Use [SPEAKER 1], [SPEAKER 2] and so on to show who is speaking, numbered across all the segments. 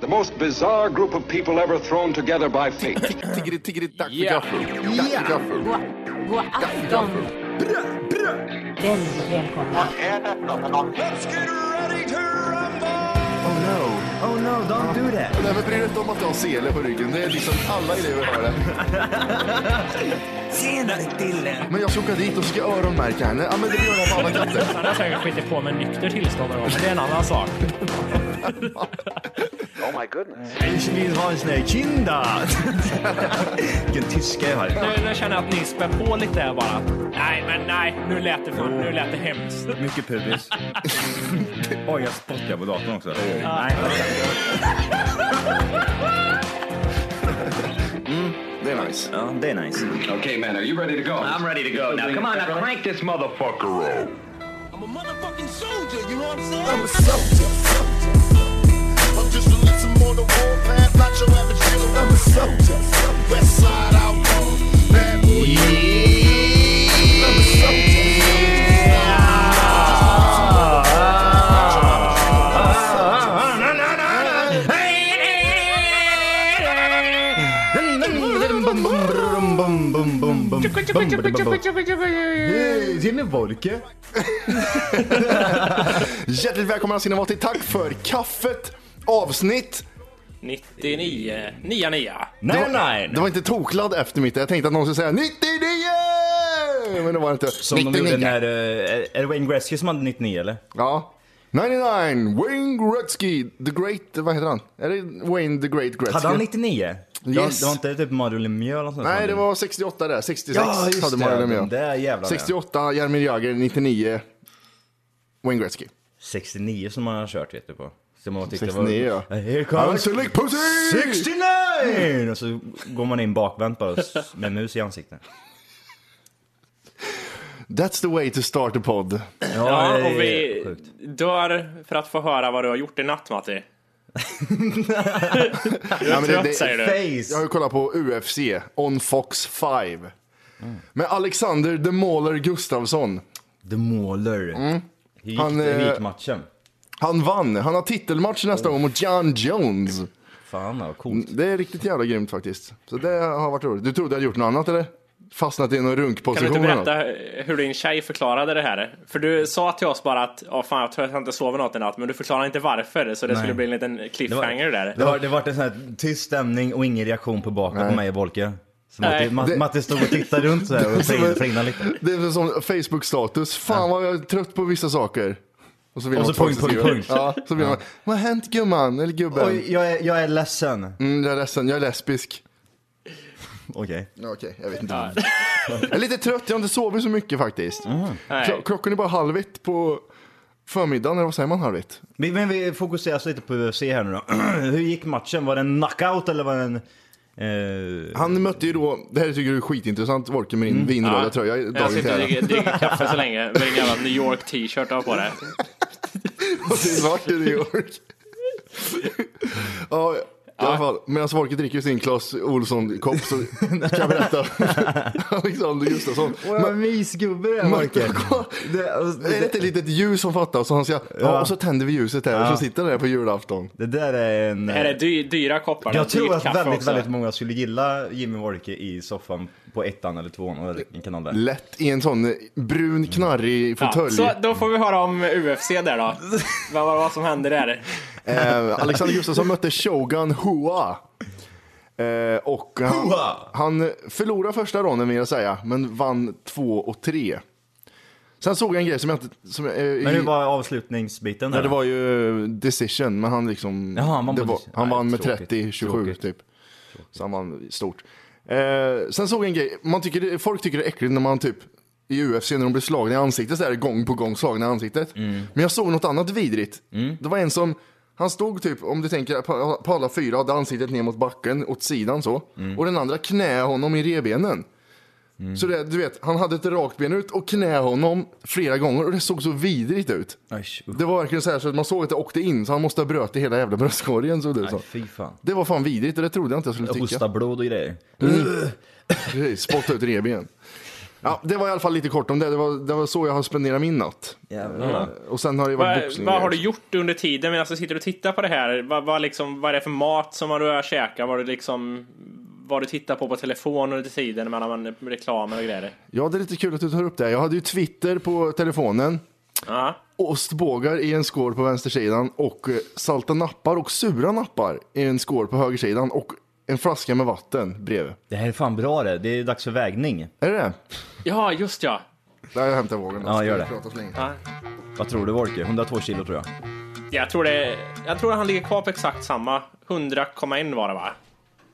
[SPEAKER 1] The most bizarre group of people ever thrown together by fate.
[SPEAKER 2] Tiggeri, tiggeri, dack för
[SPEAKER 3] Yeah.
[SPEAKER 2] gaffel. Dack för gaffel.
[SPEAKER 4] God, god afton. Väldigt välkomna.
[SPEAKER 5] Oh no, oh no, don't do that.
[SPEAKER 2] Nej, men bry dig inte om att du har sele på ryggen. Det är liksom alla elever har det.
[SPEAKER 5] Tjenare Dille!
[SPEAKER 2] Men jag ska åka dit och ska öronmärka henne. Ja, men det gör jag på alla katter.
[SPEAKER 6] Han har säkert skitit på med nykter tillstånd någon gång, men det är en annan sak.
[SPEAKER 5] Ich vill ha en sån här kinda! Vilken tyska jag har.
[SPEAKER 6] Nu, nu känner jag att ni spär på lite där bara. Nej, men nej, nu lät det, för, nu lät det hemskt.
[SPEAKER 5] Mycket pubis. Oj, jag spottar på datorn också. Nej,
[SPEAKER 2] Det är nice.
[SPEAKER 5] ja, Mm, det är nice.
[SPEAKER 1] okay, man, are you ready to go? I'm ready.
[SPEAKER 5] Eh,
[SPEAKER 2] Jimmy Wolke. Hjärtligt välkomna ska ni vara till Tack för kaffet avsnitt.
[SPEAKER 6] 99, 99.
[SPEAKER 2] Det
[SPEAKER 5] Nej,
[SPEAKER 2] var,
[SPEAKER 5] nej.
[SPEAKER 2] det var inte tokladd efter mitt. Jag tänkte att någon skulle säga 99! Men det var det inte.
[SPEAKER 5] Som de gjorde när, eh, är det Wayne Gretzky som hade 99 eller?
[SPEAKER 2] Ja. 99, Wayne Gretzky, the great, vad heter han? Är det Wayne the great Gretzky?
[SPEAKER 5] Hade han 99? Det var-
[SPEAKER 2] Yes.
[SPEAKER 5] Det var inte typ Mario Lemieux eller något sånt?
[SPEAKER 2] Nej, det var 68 där. 66
[SPEAKER 5] Ja, just
[SPEAKER 2] hade
[SPEAKER 5] det.
[SPEAKER 2] Mario
[SPEAKER 5] Den där
[SPEAKER 2] Lemieux.
[SPEAKER 5] jävla
[SPEAKER 2] 68, Jaromir Jagr, 99, Wayne Gretzky.
[SPEAKER 5] 69 som man har kört vet du på. Som man tyckte
[SPEAKER 2] 69 ja.
[SPEAKER 5] var... Here comes
[SPEAKER 2] Anselin Pussy!
[SPEAKER 5] 69! Och så går man in bakvänt bara s- med mus i ansiktet.
[SPEAKER 2] That's the way to start a pod.
[SPEAKER 6] Ja,
[SPEAKER 5] det är
[SPEAKER 6] och vi
[SPEAKER 5] sjukt.
[SPEAKER 6] dör för att få höra vad du har gjort i natt, Matti.
[SPEAKER 2] Du är
[SPEAKER 6] Trött, säger du.
[SPEAKER 2] Jag har
[SPEAKER 5] Face!
[SPEAKER 2] ju kollat på UFC on Fox 5. Med Alexander The Mauler Gustafsson.
[SPEAKER 5] The Mauler. Hur gick,
[SPEAKER 2] Mm. Han,
[SPEAKER 5] det? hur
[SPEAKER 2] eh,
[SPEAKER 5] gick matchen?
[SPEAKER 2] Han vann. Han har titelmatch nästa gång mot John Jones.
[SPEAKER 5] Fan vad coolt.
[SPEAKER 2] Det är riktigt jävla grymt faktiskt. Så det har varit roligt. Du trodde jag hade gjort något annat eller? Fastnat i någon
[SPEAKER 6] Kan du
[SPEAKER 2] runkposition
[SPEAKER 6] inte
[SPEAKER 2] eller något?
[SPEAKER 6] berätta hur din tjej förklarade det här? För du sa till oss bara att oh, fan, jag tror att jag inte sover något i natt, men du förklarade inte varför, så det skulle bli en liten cliffhanger där.
[SPEAKER 5] Det var, det var en sån här tyst stämning och ingen reaktion på bakåt på mig och Volke. Så Matti,
[SPEAKER 6] Nej.
[SPEAKER 5] Ma-
[SPEAKER 2] Det-
[SPEAKER 5] Matti stod och tittade runt så här och frin- flinade lite.
[SPEAKER 2] Det är som Facebook-status. Fan vad jag är trött på vissa saker. Och så vill
[SPEAKER 5] Och
[SPEAKER 2] man
[SPEAKER 5] så punkt,
[SPEAKER 2] faktiskt
[SPEAKER 5] punkt,
[SPEAKER 2] skriva.
[SPEAKER 5] punkt.
[SPEAKER 2] Ja, så vill man. Vad har hänt gumman? Eller gubben?
[SPEAKER 5] Oj, jag är, jag är ledsen.
[SPEAKER 2] Mm, jag är ledsen, jag är lesbisk.
[SPEAKER 5] Okej.
[SPEAKER 2] Ja, Okej, jag vet inte. jag är lite trött, jag har inte sovit så mycket faktiskt. Klo-
[SPEAKER 6] Mm. Nej.
[SPEAKER 2] klockan är bara halv ett på förmiddagen, eller vad säger man halv ett?
[SPEAKER 5] Vi- Men vi fokuserar så lite på UFC här nu då. Hur gick matchen? Var det en knockout eller var det en... Eh,
[SPEAKER 2] Han mötte ju då, det här tycker du är skitintressant, Wolke med din vinröda tröja i
[SPEAKER 6] Mm. Jag
[SPEAKER 2] dagens
[SPEAKER 6] sitter och
[SPEAKER 2] här.
[SPEAKER 6] dricker- dricker kaffe så länge med din jävla New York t-shirt du har på dig.
[SPEAKER 2] Och det är svart i New York. ja, i alla fall. Medan Wolke dricker sin Clas Olsson-kopp så kan jag berätta. Alexander Gustafsson.
[SPEAKER 5] Våra mysgubbe är Marke.
[SPEAKER 2] Är det inte ett litet ljus som fattas? Och, han ska, ja. och så tänder vi ljuset här och så sitter det där på julafton.
[SPEAKER 5] Det där är en... eh,
[SPEAKER 6] Är det dy, dyra koppar?
[SPEAKER 5] jag
[SPEAKER 6] och
[SPEAKER 5] tror
[SPEAKER 6] dyrt
[SPEAKER 5] att
[SPEAKER 6] kaffe
[SPEAKER 5] väldigt,
[SPEAKER 6] också?
[SPEAKER 5] väldigt många skulle gilla Jimmy Wolke i soffan på ettan eller tvåan och en kanal där.
[SPEAKER 2] Lätt i en sån brun knarrig
[SPEAKER 6] Ja,
[SPEAKER 2] fåtölj.
[SPEAKER 6] så då får vi höra om UFC där då. vad, vad, vad som hände där.
[SPEAKER 2] Eh, Alexander Gustafsson mötte Shogun Hua. Eh, och han,
[SPEAKER 5] Hua!
[SPEAKER 2] han förlorade första ronden vill jag säga, men vann två och tre. Sen såg jag en grej som jag inte... Som, jag, eh,
[SPEAKER 5] Men
[SPEAKER 2] i-
[SPEAKER 5] hur var avslutningsbiten där?
[SPEAKER 2] Ja, det var ju decision, men han liksom...
[SPEAKER 5] Jaha, han vann
[SPEAKER 2] det
[SPEAKER 5] på
[SPEAKER 2] var,
[SPEAKER 5] decision.
[SPEAKER 2] han
[SPEAKER 5] Nej,
[SPEAKER 2] vann med
[SPEAKER 5] tråkigt.
[SPEAKER 2] 30-27
[SPEAKER 5] Tråkigt.
[SPEAKER 2] typ. Så han vann stort. Eh, sen såg jag en grej, man tycker det, folk tycker det är äckligt när man typ i UFC när de blir slagna i ansiktet så är det gång på gång slagna i ansiktet.
[SPEAKER 5] Mm.
[SPEAKER 2] Men jag såg något annat vidrigt. Det var en som, han stod typ, om du tänker på, på alla fyra, hade ansiktet ner mot backen, åt sidan så.
[SPEAKER 5] Mm.
[SPEAKER 2] Och den andra knä honom i revbenen. Så det, du vet, han hade ett rakt ben ut och knä honom flera gånger och det såg så vidrigt ut.
[SPEAKER 5] Usch, usch.
[SPEAKER 2] Det var verkligen så här så att man såg att det åkte in så han måste ha bröt i hela jävla bröstkorgen som du sa.
[SPEAKER 5] Nej, fy fan.
[SPEAKER 2] Det var fan vidrigt och det trodde jag inte jag skulle tycka.
[SPEAKER 5] Hosta blod och grejer.
[SPEAKER 2] Precis, Spotta ut revben. Ja, det var i alla fall lite kort om det. Det var, det var så jag har spenderat min natt.
[SPEAKER 5] Jävlar.
[SPEAKER 2] Och sen har det ju varit
[SPEAKER 6] Vad,
[SPEAKER 2] boxning.
[SPEAKER 6] vad har du gjort under tiden medan du sitter och tittar på det här? Vad, vad, liksom, vad är det för mat som du har käkat? Vad du liksom... Vad du tittar på på telefon under tiden mellan reklamer och grejer?
[SPEAKER 2] Ja, det är lite kul att du tar upp det. Jag hade ju Twitter på telefonen.
[SPEAKER 6] Ja.
[SPEAKER 2] Ostbågar i en skål på vänstersidan och eh, salta nappar och sura nappar i en skål på högersidan och en flaska med vatten bredvid.
[SPEAKER 5] Det här är fan bra det. Det är dags för vägning.
[SPEAKER 2] Är det det?
[SPEAKER 6] ja, just ja.
[SPEAKER 2] Där jag hämtar vågen.
[SPEAKER 5] Ja, gör det.
[SPEAKER 2] Prata så länge.
[SPEAKER 6] ja.
[SPEAKER 5] Vad tror du Wolke? 102 kilo tror jag.
[SPEAKER 6] Jag tror, det, jag tror han ligger kvar på exakt samma. 100,1 var det va?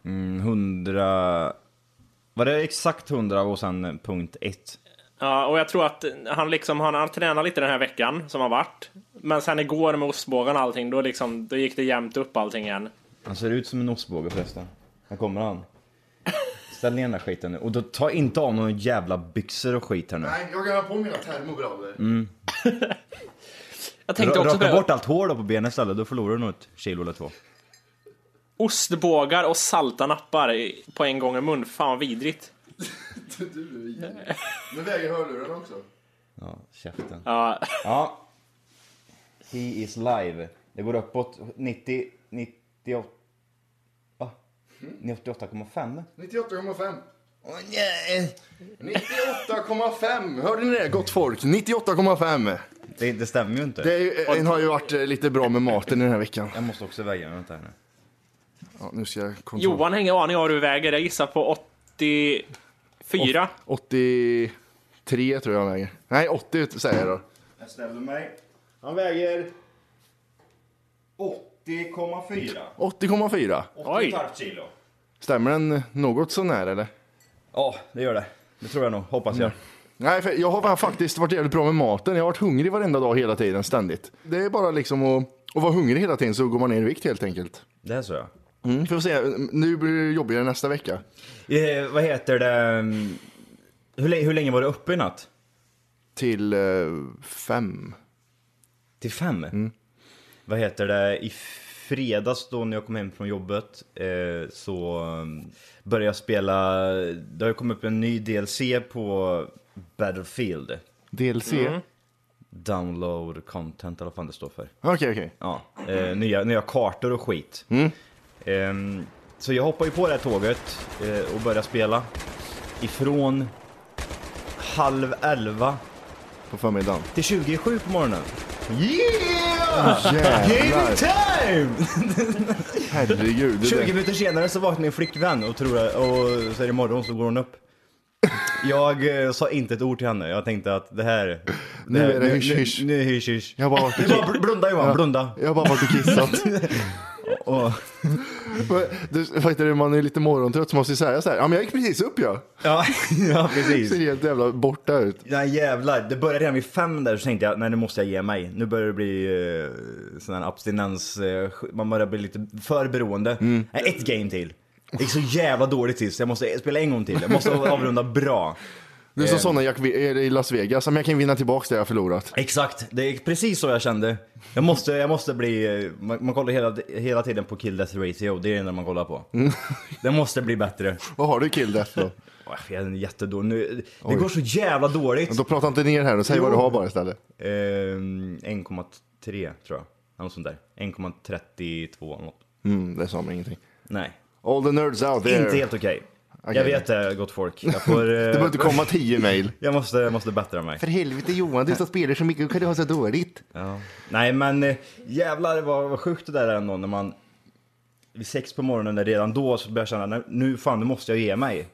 [SPEAKER 5] Mm, 100... Var det exakt 100 och sen punkt 1?
[SPEAKER 6] Ja, och jag tror att han liksom, han, han tränat lite den här veckan som har varit. Men sen igår med ostbågen och allting, då liksom, då gick det jämnt upp allting igen.
[SPEAKER 5] Han ser ut som en ostbåge förresten. Här kommer han. Ställ ner den här skiten nu. Och då ta inte av någon jävla byxor och skit här nu.
[SPEAKER 2] Nej, jag kan ha på mina termobrallor.
[SPEAKER 6] Jag
[SPEAKER 5] Ra-
[SPEAKER 6] tänkte också
[SPEAKER 5] Raka
[SPEAKER 6] på
[SPEAKER 5] bort allt hår då på benen istället, då förlorar du nog ett kilo eller två.
[SPEAKER 6] ostbågar och salta nappar i- på en gång i mun. Fan vad vidrigt.
[SPEAKER 2] Du är jävlig. Nu väger hörlurarna också.
[SPEAKER 5] Ja, käften.
[SPEAKER 6] Ja,
[SPEAKER 5] Ja. He is live. Det går uppåt 90, 98... Va? 98,5?
[SPEAKER 2] 98,5.
[SPEAKER 5] Åh nej!
[SPEAKER 2] 98,5! Hörde ni det gott folk? 98,5!
[SPEAKER 5] Det, det stämmer ju inte.
[SPEAKER 2] Det är ju, en har ju varit eh, lite bra med maten i den här veckan.
[SPEAKER 5] Jag måste också väga mig, vänta här nu.
[SPEAKER 2] Ja, nu ska jag kontrollera.
[SPEAKER 6] Johan har ingen aning om vad du väger. Jag gissar på 84.
[SPEAKER 2] 83 tror jag han väger. Nej, 80 säger jag då.
[SPEAKER 5] Jag ställde mig. Han väger 80,4.
[SPEAKER 2] 80,4.
[SPEAKER 6] Oj.
[SPEAKER 5] 80,5 kilo.
[SPEAKER 2] Stämmer den något sånär eller?
[SPEAKER 5] Ja, det gör det. Det tror jag nog, hoppas jag.
[SPEAKER 2] Nej, för jag har faktiskt varit jävligt bra med maten. Jag har varit hungrig varenda dag hela tiden, ständigt. Det är bara liksom att, att vara hungrig hela tiden så går man ner i vikt helt enkelt.
[SPEAKER 5] Det är så ja.
[SPEAKER 2] Mm, får se, nu blir det jobbigare nästa vecka.
[SPEAKER 5] Eh, vad heter det? Hur länge, hur länge var det uppe i natt?
[SPEAKER 2] Till eh, fem.
[SPEAKER 5] Till fem? Vad heter det? I fredags då när jag kom hem från jobbet eh, så eh, började jag spela, det har ju kommit upp en ny DLC på Battlefield.
[SPEAKER 2] DLC.
[SPEAKER 5] Download content eller vad fan det står för.
[SPEAKER 2] Okej, okej.
[SPEAKER 5] Ja, eh, nya, nya kartor och skit.
[SPEAKER 2] Mm.
[SPEAKER 5] Ehm, så jag hoppar ju på det här tåget eh, och börjar spela. Ifrån halv elva
[SPEAKER 2] På förmiddagen.
[SPEAKER 5] till 27 på morgonen. Ah, Yeah! Game
[SPEAKER 2] Jävlar,
[SPEAKER 5] time!
[SPEAKER 2] herregud. det
[SPEAKER 5] 20
[SPEAKER 2] där-
[SPEAKER 5] minuter senare så vaknar min flickvän och tror att, och så är det imorgon så går hon upp. Jag eh, sa inte ett ord till henne, jag tänkte att det här... Det
[SPEAKER 2] Nu
[SPEAKER 5] här-
[SPEAKER 2] är det hysch,
[SPEAKER 5] nu-
[SPEAKER 2] hysch.
[SPEAKER 5] Nu, nu är det hysch hysch.
[SPEAKER 2] Jag har bara varit
[SPEAKER 5] Det är bara bl- blunda Johan, blunda.
[SPEAKER 2] Jag har bara varit och kissat.
[SPEAKER 5] Och,
[SPEAKER 2] Du, vad heter det, man är lite morgontrött så måste jag säga så här. Ja men jag gick precis upp ja.
[SPEAKER 5] ja, ja,
[SPEAKER 2] Ser
[SPEAKER 5] precis.
[SPEAKER 2] helt jävla borta ut.
[SPEAKER 5] Nej jävlar, det började redan vid fem där så tänkte jag, nej nu måste jag ge mig. Nu börjar det bli eh, sån här abstinens, eh, sk- man börjar bli lite för beroende. Nej, ett game till. Det gick så jävla dåligt sist, jag måste spela en gång till. Jag måste avrunda bra.
[SPEAKER 2] Du är som sådana Jack Ve- eh, i Las Vegas. Ja, men jag kan vinna tillbaka det jag har förlorat.
[SPEAKER 5] Exakt, det är precis så jag kände. Jag måste, jag måste bli, eh, man, man kollar hela, hela tiden på kill death ratio, det är det enda man kollar på. Det måste bli bättre.
[SPEAKER 2] Vad har du kill death då?
[SPEAKER 5] Åh, Jag är jättedålig nu, det går så jävla dåligt.
[SPEAKER 2] Då prata inte ner här och säg vad du har bara istället.
[SPEAKER 5] Ehm, 1,3 tror jag, något sånt där. 1,32 eller något.
[SPEAKER 2] Mm, det sa man ingenting.
[SPEAKER 5] Nej,
[SPEAKER 2] All the nerds out there.
[SPEAKER 5] inte helt okej.
[SPEAKER 2] Okej.
[SPEAKER 5] Jag vet det gott folk. Jag, får, eh,
[SPEAKER 2] Det behöver inte komma tio mail.
[SPEAKER 5] jag måste, jag måste bättra mig.
[SPEAKER 2] För helvete Johan, du som spelar så mycket, hur kan du ha så dåligt?
[SPEAKER 5] Ja. Nej men eh, jävlar vad, vad sjukt det där är ändå när man vid sex på morgonen där redan då så börjar jag känna "Nej, nu fan nu måste jag ge mig.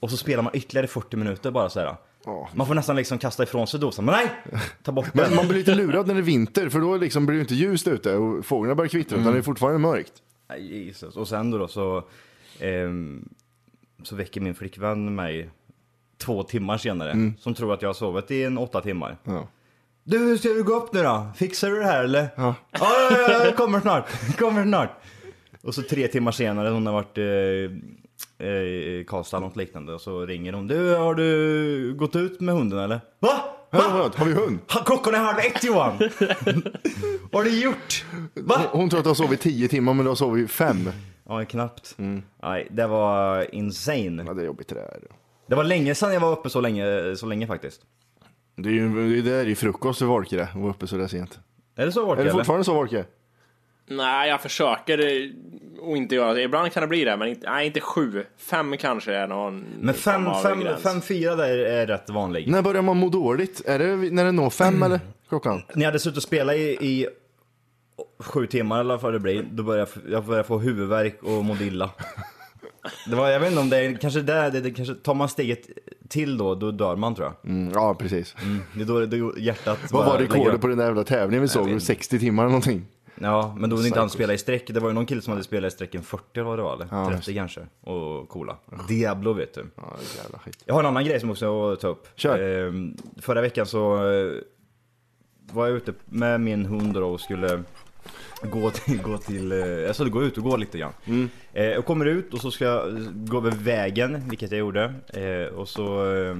[SPEAKER 5] Och så spelar man ytterligare 40 minuter bara så här.
[SPEAKER 2] Ja.
[SPEAKER 5] Man får nästan liksom kasta ifrån sig dosan. Men nej! Ta bort den.
[SPEAKER 2] Men man blir lite lurad när det är vinter, för då liksom blir det inte ljust ute och fåglarna börjar kvittra, utan det är fortfarande mörkt.
[SPEAKER 5] Nej, Jesus. Och sen då, då så, ehm, så väcker min flickvän mig två timmar senare. Som tror att jag har sovit i en åtta timmar.
[SPEAKER 2] Mm. Ja.
[SPEAKER 5] Du, ska du gå upp nu då? Fixar du det här eller?
[SPEAKER 2] Ja.
[SPEAKER 5] Ja, ja, ja, jag kommer snart. Jag kommer snart. Och så tre timmar senare, hon har varit eh, eh, i Karlstad eller något liknande. Och så ringer hon. Du, har du gått ut med hunden eller? Va?
[SPEAKER 2] Hör,
[SPEAKER 5] Va?
[SPEAKER 2] hör, har vi hund?
[SPEAKER 5] Ha, klockan är halv ett Johan! Vad har du gjort? Va?
[SPEAKER 2] Hon- Hon tror att du har sovit tio timmar, men du har sovit fem.
[SPEAKER 5] Mm. Ja, knappt. Nej, det var insane.
[SPEAKER 2] Ja, det är jobbigt det där.
[SPEAKER 5] Det var länge sedan jag var uppe så länge, så länge faktiskt.
[SPEAKER 2] Det är ju det är ju frukost för Volke det, att vara uppe sådär sent.
[SPEAKER 5] Är det så vart
[SPEAKER 2] Är det
[SPEAKER 5] eller?
[SPEAKER 2] fortfarande så Volke?
[SPEAKER 6] Nej, jag försöker eh, att inte göra det. Ibland kan det bli det, men inte, nej, inte sju. Fem kanske är någon
[SPEAKER 5] Men fem,
[SPEAKER 6] form av
[SPEAKER 5] fem,
[SPEAKER 6] gräns.
[SPEAKER 5] fem, fyra där är rätt vanlig.
[SPEAKER 2] När börjar man må dåligt? Är det när det når fem eller? Klockan?
[SPEAKER 5] När jag hade suttit och spelat i, i sju timmar eller vad det blir, då började jag, jag började få huvudvärk och mådde illa. Det var, jag vet inte om det är, kanske där, det, det kanske, tar man steget till då, då dör man tror jag.
[SPEAKER 2] Mm, ja, precis.
[SPEAKER 5] Det är då, då hjärtat
[SPEAKER 2] Vad
[SPEAKER 5] bara
[SPEAKER 2] var
[SPEAKER 5] lägger
[SPEAKER 2] rekordet
[SPEAKER 5] upp.
[SPEAKER 2] på den där jävla tävlingen vi såg? 60 timmar eller någonting?
[SPEAKER 5] Ja, men då vill inte han
[SPEAKER 2] Psychos.
[SPEAKER 5] spela i streck. Det var ju någon kille som hade spelat i strecken 40 eller vad det var, eller? 30 kanske. Och coola. Diablo vet du.
[SPEAKER 2] Ja, jävla skit.
[SPEAKER 5] Jag har en annan grej som också jag ta upp.
[SPEAKER 2] Kör.
[SPEAKER 5] Ehm, förra veckan så eh, var jag ute med min hund då och skulle gå till, gå till eh, jag skulle gå ut och gå lite grann.
[SPEAKER 2] Mm.
[SPEAKER 5] Eh, jag kommer ut och så ska jag gå över vägen, vilket jag gjorde. Eh, och så eh,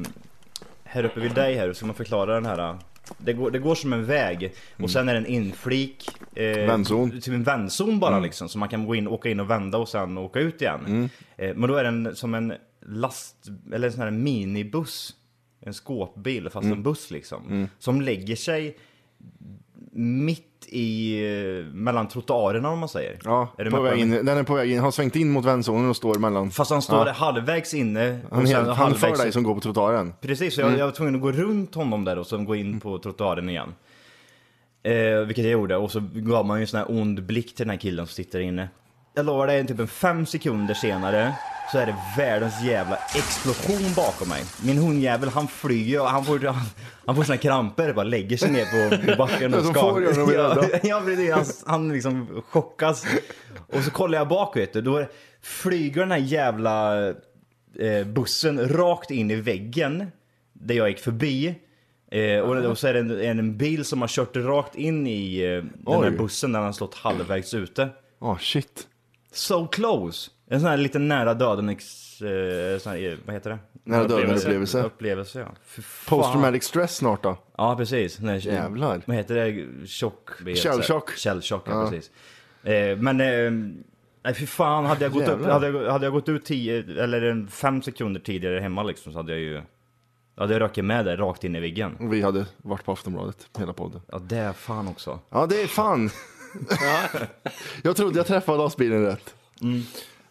[SPEAKER 5] här uppe vid dig här så ska man förklara den här. eh, Det går, det går som en väg och sen är det en inflik. Eh,
[SPEAKER 2] Vändzon.
[SPEAKER 5] Typ en vändzon bara
[SPEAKER 2] Mm.
[SPEAKER 5] liksom. Så man kan gå in, åka in och vända och sen åka ut igen. Eh, men då är den som en last, eller en sån här minibuss. En skåpbil fast
[SPEAKER 2] Mm.
[SPEAKER 5] en buss liksom. Som lägger sig mitt i, eh, mellan trottoarerna om man säger.
[SPEAKER 2] Ja,
[SPEAKER 5] är du
[SPEAKER 2] på
[SPEAKER 5] med
[SPEAKER 2] väg
[SPEAKER 5] på
[SPEAKER 2] in.
[SPEAKER 5] det?
[SPEAKER 2] den är på väg in. Han har svängt in mot vänzonen och står mellan.
[SPEAKER 5] Fast han står
[SPEAKER 2] Ja.
[SPEAKER 5] halvvägs inne. och
[SPEAKER 2] Han,
[SPEAKER 5] sen
[SPEAKER 2] är, han för
[SPEAKER 5] halvvägs
[SPEAKER 2] dig som går på trottoaren.
[SPEAKER 5] Precis, så
[SPEAKER 2] Mm.
[SPEAKER 5] jag, jag var tvungen att gå runt honom där och sen gå in på trottoaren igen. Eh, vilket jag gjorde och så gav man ju en sån här ond blick till den här killen som sitter inne. Jag lovar dig, typ en fem sekunder senare så är det världens jävla explosion bakom mig. Min hundjävel han flyger och han får, han, han får såna kramper bara lägger sig ner på backen
[SPEAKER 2] Ja,
[SPEAKER 5] och
[SPEAKER 2] de
[SPEAKER 5] skakar.
[SPEAKER 2] får göra det, de är rädda.
[SPEAKER 5] Ja, precis. Han, han liksom chockas. Och så kollar jag bak vet du, då flyger den här jävla eh, bussen rakt in i väggen där jag gick förbi. Eh, och, och så är det en, en, en bil som har kört rakt in i eh, den
[SPEAKER 2] Oj.
[SPEAKER 5] här bussen när den har slått halvvägs ute.
[SPEAKER 2] Ja, shit.
[SPEAKER 5] So close! En sån här lite nära döden ex, eh, sån här, eh, vad heter det?
[SPEAKER 2] Nära
[SPEAKER 5] Upplevelse,
[SPEAKER 2] döden-upplevelse.
[SPEAKER 5] upplevelse ja. Fy fan.
[SPEAKER 2] Post traumatic stress snart då.
[SPEAKER 5] Ja, precis. Den här-
[SPEAKER 2] Jävlar.
[SPEAKER 5] Vad heter det? Tjock... vad heter det?
[SPEAKER 2] Källchock.
[SPEAKER 5] Källchock, ja,
[SPEAKER 2] Ja.
[SPEAKER 5] precis. Eh, men... Eh, nej, fy fan. Hade jag, gått upp,
[SPEAKER 2] Jävlar.
[SPEAKER 5] hade, jag, hade jag gått ut tio, eller en fem sekunder tidigare hemma liksom, så hade jag ju... Hade jag rökt med där rakt in i väggen.
[SPEAKER 2] Och vi hade varit på Aftonbladet hela podden.
[SPEAKER 5] Ja, det är fan också.
[SPEAKER 2] Ja, det är fan. jag trodde jag träffade lastbilen rätt.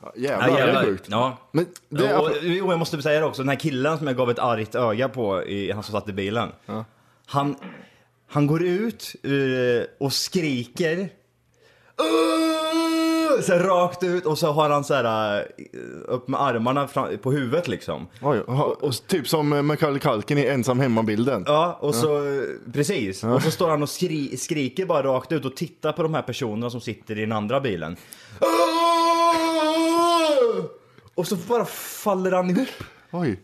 [SPEAKER 2] Ja, jävlar, det är sjukt.
[SPEAKER 5] Mm. Ja.
[SPEAKER 2] Men det är,
[SPEAKER 5] och, och jag måste säga det också, den här killen som jag gav ett argt öga på, i, han som satt i bilen. Han, han går ut ur, och skriker. "Åh!" Så här, rakt ut och så har han så här eh, upp med armarna fram, på huvudet liksom.
[SPEAKER 2] Oj, och, och, typ som eh, Macaulay Culkin i Ensam hemma-bilden.
[SPEAKER 5] Ja, och så, precis. Och så står han och skri skriker bara rakt ut och tittar på de här personerna som sitter i den andra bilen. "Åh!" Och så bara faller han ihop.
[SPEAKER 2] Oj.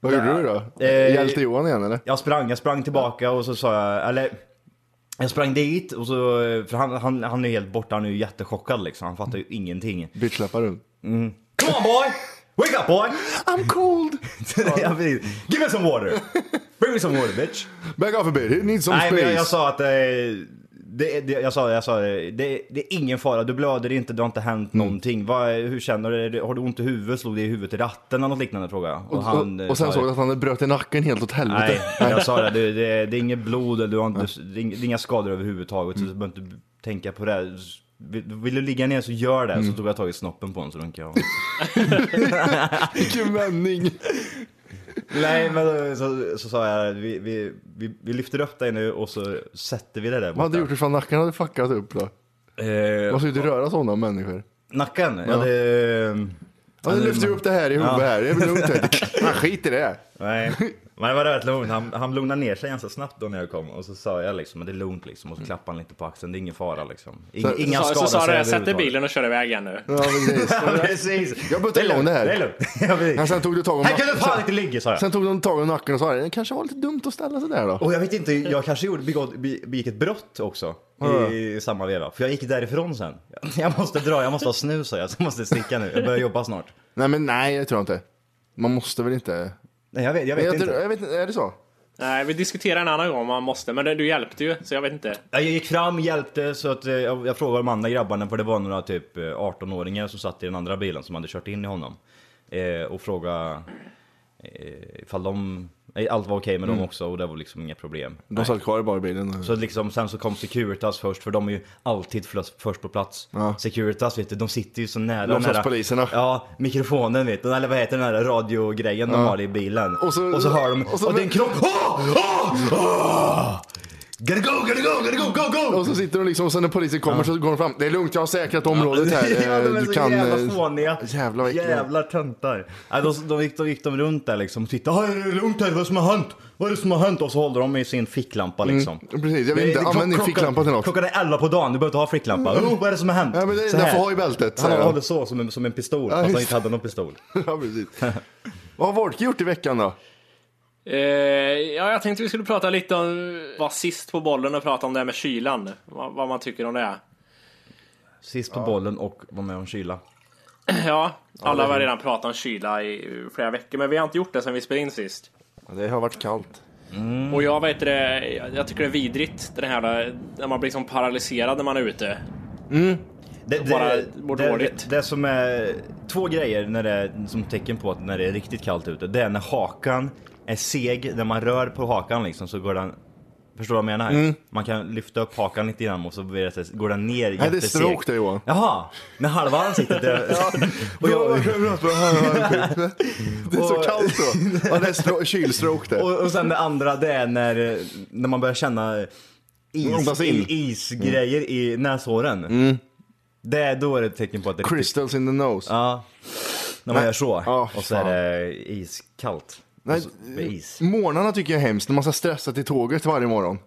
[SPEAKER 2] Vad gjorde du då?
[SPEAKER 5] Eh,
[SPEAKER 2] Hjälte Johan igen eller?
[SPEAKER 5] Jag sprang, jag sprang tillbaka och så sa jag, eller jag sprang dit och så, för han, han, han är helt borta, han är ju jättechockad liksom, han fattar ju ingenting.
[SPEAKER 2] Bitchläppar du?
[SPEAKER 5] Come on boy! Wake up boy!
[SPEAKER 2] I'm cold!
[SPEAKER 5] Jag blir- Give me some water! Bring me some water bitch!
[SPEAKER 2] Back off a bit, it needs some
[SPEAKER 5] Nej
[SPEAKER 2] space.
[SPEAKER 5] men jag, jag sa att, eh, det, det, jag sa, jag sa det, det är ingen fara, du blöder inte, det har inte hänt
[SPEAKER 2] Mm.
[SPEAKER 5] någonting. Vad, hur känner du? Är det- Har du ont i huvudet? Slog det i huvudet i ratten eller något liknande frågade jag.
[SPEAKER 2] och, och, och sen såg jag att han hade bröt i nacken helt åt
[SPEAKER 5] eh, Nej,
[SPEAKER 2] helvete.
[SPEAKER 5] men jag sa det. Det, det, det är inget blod, eller du har inte, det, är inga, det är inga skador överhuvudtaget. Så du behöver inte tänka på det. Vill, vill du ligga ner så gör det. Så tog jag tag i snoppen på honom så runkade jag.
[SPEAKER 2] Vilken vändning!
[SPEAKER 5] Nej men då- så, så sa jag vi, vi, vi, vi lyfter upp dig nu och så sätter vi det där borta.
[SPEAKER 2] Vad hade du gjort ifall nacken hade fuckat upp då?
[SPEAKER 5] Eh,
[SPEAKER 2] Man ska ju inte röra sådana människor.
[SPEAKER 5] nacken? Ja. det,
[SPEAKER 2] Ja, nu lyfter jag upp det här i huvudet här, det är väl lugnt. vet du. Ah, skit i det.
[SPEAKER 5] nej. Men det var rätt lugnt. Han, han lugnade ner sig ganska snabbt då när jag kom. Och så sa jag liksom att det är lugnt liksom. Och så klappade han lite på axeln. Det är ingen fara liksom. Inga,
[SPEAKER 2] Så-
[SPEAKER 5] inga
[SPEAKER 6] Så,
[SPEAKER 5] skador.
[SPEAKER 6] så sa du, sätt dig i
[SPEAKER 5] överhuvudtaget."
[SPEAKER 6] bilen och kör iväg igen nu.
[SPEAKER 2] Ja, precis.
[SPEAKER 5] Ja, precis.
[SPEAKER 2] Jag behöver ta
[SPEAKER 5] är lugnt,
[SPEAKER 2] igång det här.
[SPEAKER 5] är lugnt. Ja, precis.
[SPEAKER 2] Men sen tog du tag om
[SPEAKER 5] Här kan du
[SPEAKER 2] nacken.
[SPEAKER 5] fan inte ligga sa jag.
[SPEAKER 2] Sen tog de tag i nacken och sa det kanske var lite dumt att ställa sig där då.
[SPEAKER 5] Och jag vet inte, jag kanske gjorde, begått, be- begick ett brott också i samma veva. För jag gick därifrån sen. Jag måste dra, jag måste ha snus sa jag, så jag måste sticka nu. Jag börjar jobba snart.
[SPEAKER 2] Nej men nej, det tror jag inte. Man måste väl inte?
[SPEAKER 5] Nej jag vet, jag
[SPEAKER 2] Jag,
[SPEAKER 5] vet
[SPEAKER 2] jag,
[SPEAKER 5] inte.
[SPEAKER 2] tror-
[SPEAKER 5] Jag,
[SPEAKER 2] jag vet inte, är det så?
[SPEAKER 6] Nej, vi diskuterar en annan gång om man måste, men det- du hjälpte ju, så jag vet inte.
[SPEAKER 5] gick fram, hjälpte, så att eh, jag, jag frågade de andra grabbarna, för det var några typ eh, 18-åringar som satt i den andra bilen som hade kört in i honom. Eh, och frågade eh, ifall de, nej, allt var okej med dem också och det var liksom inga problem.
[SPEAKER 2] De satt kvar bara i bilen.
[SPEAKER 5] Så liksom, sen så kom Securitas först, för de är ju alltid flös- först på plats.
[SPEAKER 2] Ja.
[SPEAKER 5] Securitas vet du, de sitter ju så nära
[SPEAKER 2] De
[SPEAKER 5] den här-
[SPEAKER 2] slags poliserna.
[SPEAKER 5] Ja, mikrofonen vet du, eller vad heter den där radiogrejen de har i bilen.
[SPEAKER 2] Och så-
[SPEAKER 5] hör de,
[SPEAKER 2] och
[SPEAKER 5] och,
[SPEAKER 2] så-
[SPEAKER 5] din kropp, åh, åh, åh! Gotta go, gotta go, gotta go, go, go!
[SPEAKER 2] Och så sitter de liksom, och sen när polisen kommer så går de fram. Det är lugnt, jag har säkrat området här.
[SPEAKER 5] ja, de är
[SPEAKER 2] du
[SPEAKER 5] så
[SPEAKER 2] kan...
[SPEAKER 5] jävla
[SPEAKER 2] eh,
[SPEAKER 5] fåniga.
[SPEAKER 2] jävla vad äckliga.
[SPEAKER 5] Jävla töntar. Ja, de, de, gick, de gick de runt där liksom och tittade. "Ah, Är det lugnt här? Vad är det som har hänt? Vad är det som har hänt? Och så håller de i sin ficklampa liksom.
[SPEAKER 2] Mm, Precis, jag vet
[SPEAKER 5] Det-
[SPEAKER 2] inte.
[SPEAKER 5] det-
[SPEAKER 2] Använd din
[SPEAKER 5] klockan-
[SPEAKER 2] ficklampa till något. Mm.
[SPEAKER 5] Klockan är 11 på dagen, du behöver inte ha ficklampa. Oh, vad är det som har hänt?
[SPEAKER 2] Ja, men det-
[SPEAKER 5] Så
[SPEAKER 2] den
[SPEAKER 5] här.
[SPEAKER 2] får ha i bältet,
[SPEAKER 5] Han
[SPEAKER 2] säger han.
[SPEAKER 5] håller så som en, som en pistol,
[SPEAKER 2] Ja,
[SPEAKER 5] fast han
[SPEAKER 2] just
[SPEAKER 5] inte hade någon pistol.
[SPEAKER 2] ja, precis. Vad har Wolke gjort i veckan då?
[SPEAKER 6] Eh, ja, jag tänkte vi skulle prata lite om, vara sist på bollen och prata om det här med kylan. Vad, vad man tycker om det. Är.
[SPEAKER 5] Sist på bollen och var med om kyla.
[SPEAKER 6] Ja, alla har redan pratat om kyla i flera veckor, men vi har inte gjort det sen vi spelade in sist.
[SPEAKER 2] Det har varit kallt.
[SPEAKER 6] Och jag vet det, jag- jag tycker det är vidrigt den här när man blir som paralyserad när man är ute.
[SPEAKER 5] Det,
[SPEAKER 6] Bara mår
[SPEAKER 5] det,
[SPEAKER 6] dåligt.
[SPEAKER 5] det som är två grejer när det är, som tecken på att när det är riktigt kallt ute, det är när hakan är seg, när man rör på hakan liksom så går den Förstår du vad jag menar?
[SPEAKER 2] Mm.
[SPEAKER 5] Man kan lyfta upp hakan lite grann och så blir det, går den ner
[SPEAKER 2] det är
[SPEAKER 5] jättesegt.
[SPEAKER 2] stroke det, Johan.
[SPEAKER 5] Jaha! När halva ansiktet är... och jag,
[SPEAKER 2] Det är så kallt då. Ja, det är stro- kylstroke det.
[SPEAKER 5] Och, och sen det andra det är när, när man börjar känna is,
[SPEAKER 2] Andas in. Mm.
[SPEAKER 5] i- isgrejer i näshåren. Det, är- då är det ett tecken på att det är riktigt-
[SPEAKER 2] Crystals in the nose.
[SPEAKER 5] Ja. När man
[SPEAKER 2] Nej.
[SPEAKER 5] gör så.
[SPEAKER 2] Ja,
[SPEAKER 5] och så är det iskallt.
[SPEAKER 2] Nej,
[SPEAKER 5] Och så- med is.
[SPEAKER 2] Morgnarna tycker jag är hemskt, när man ska stressa till tåget varje morgon.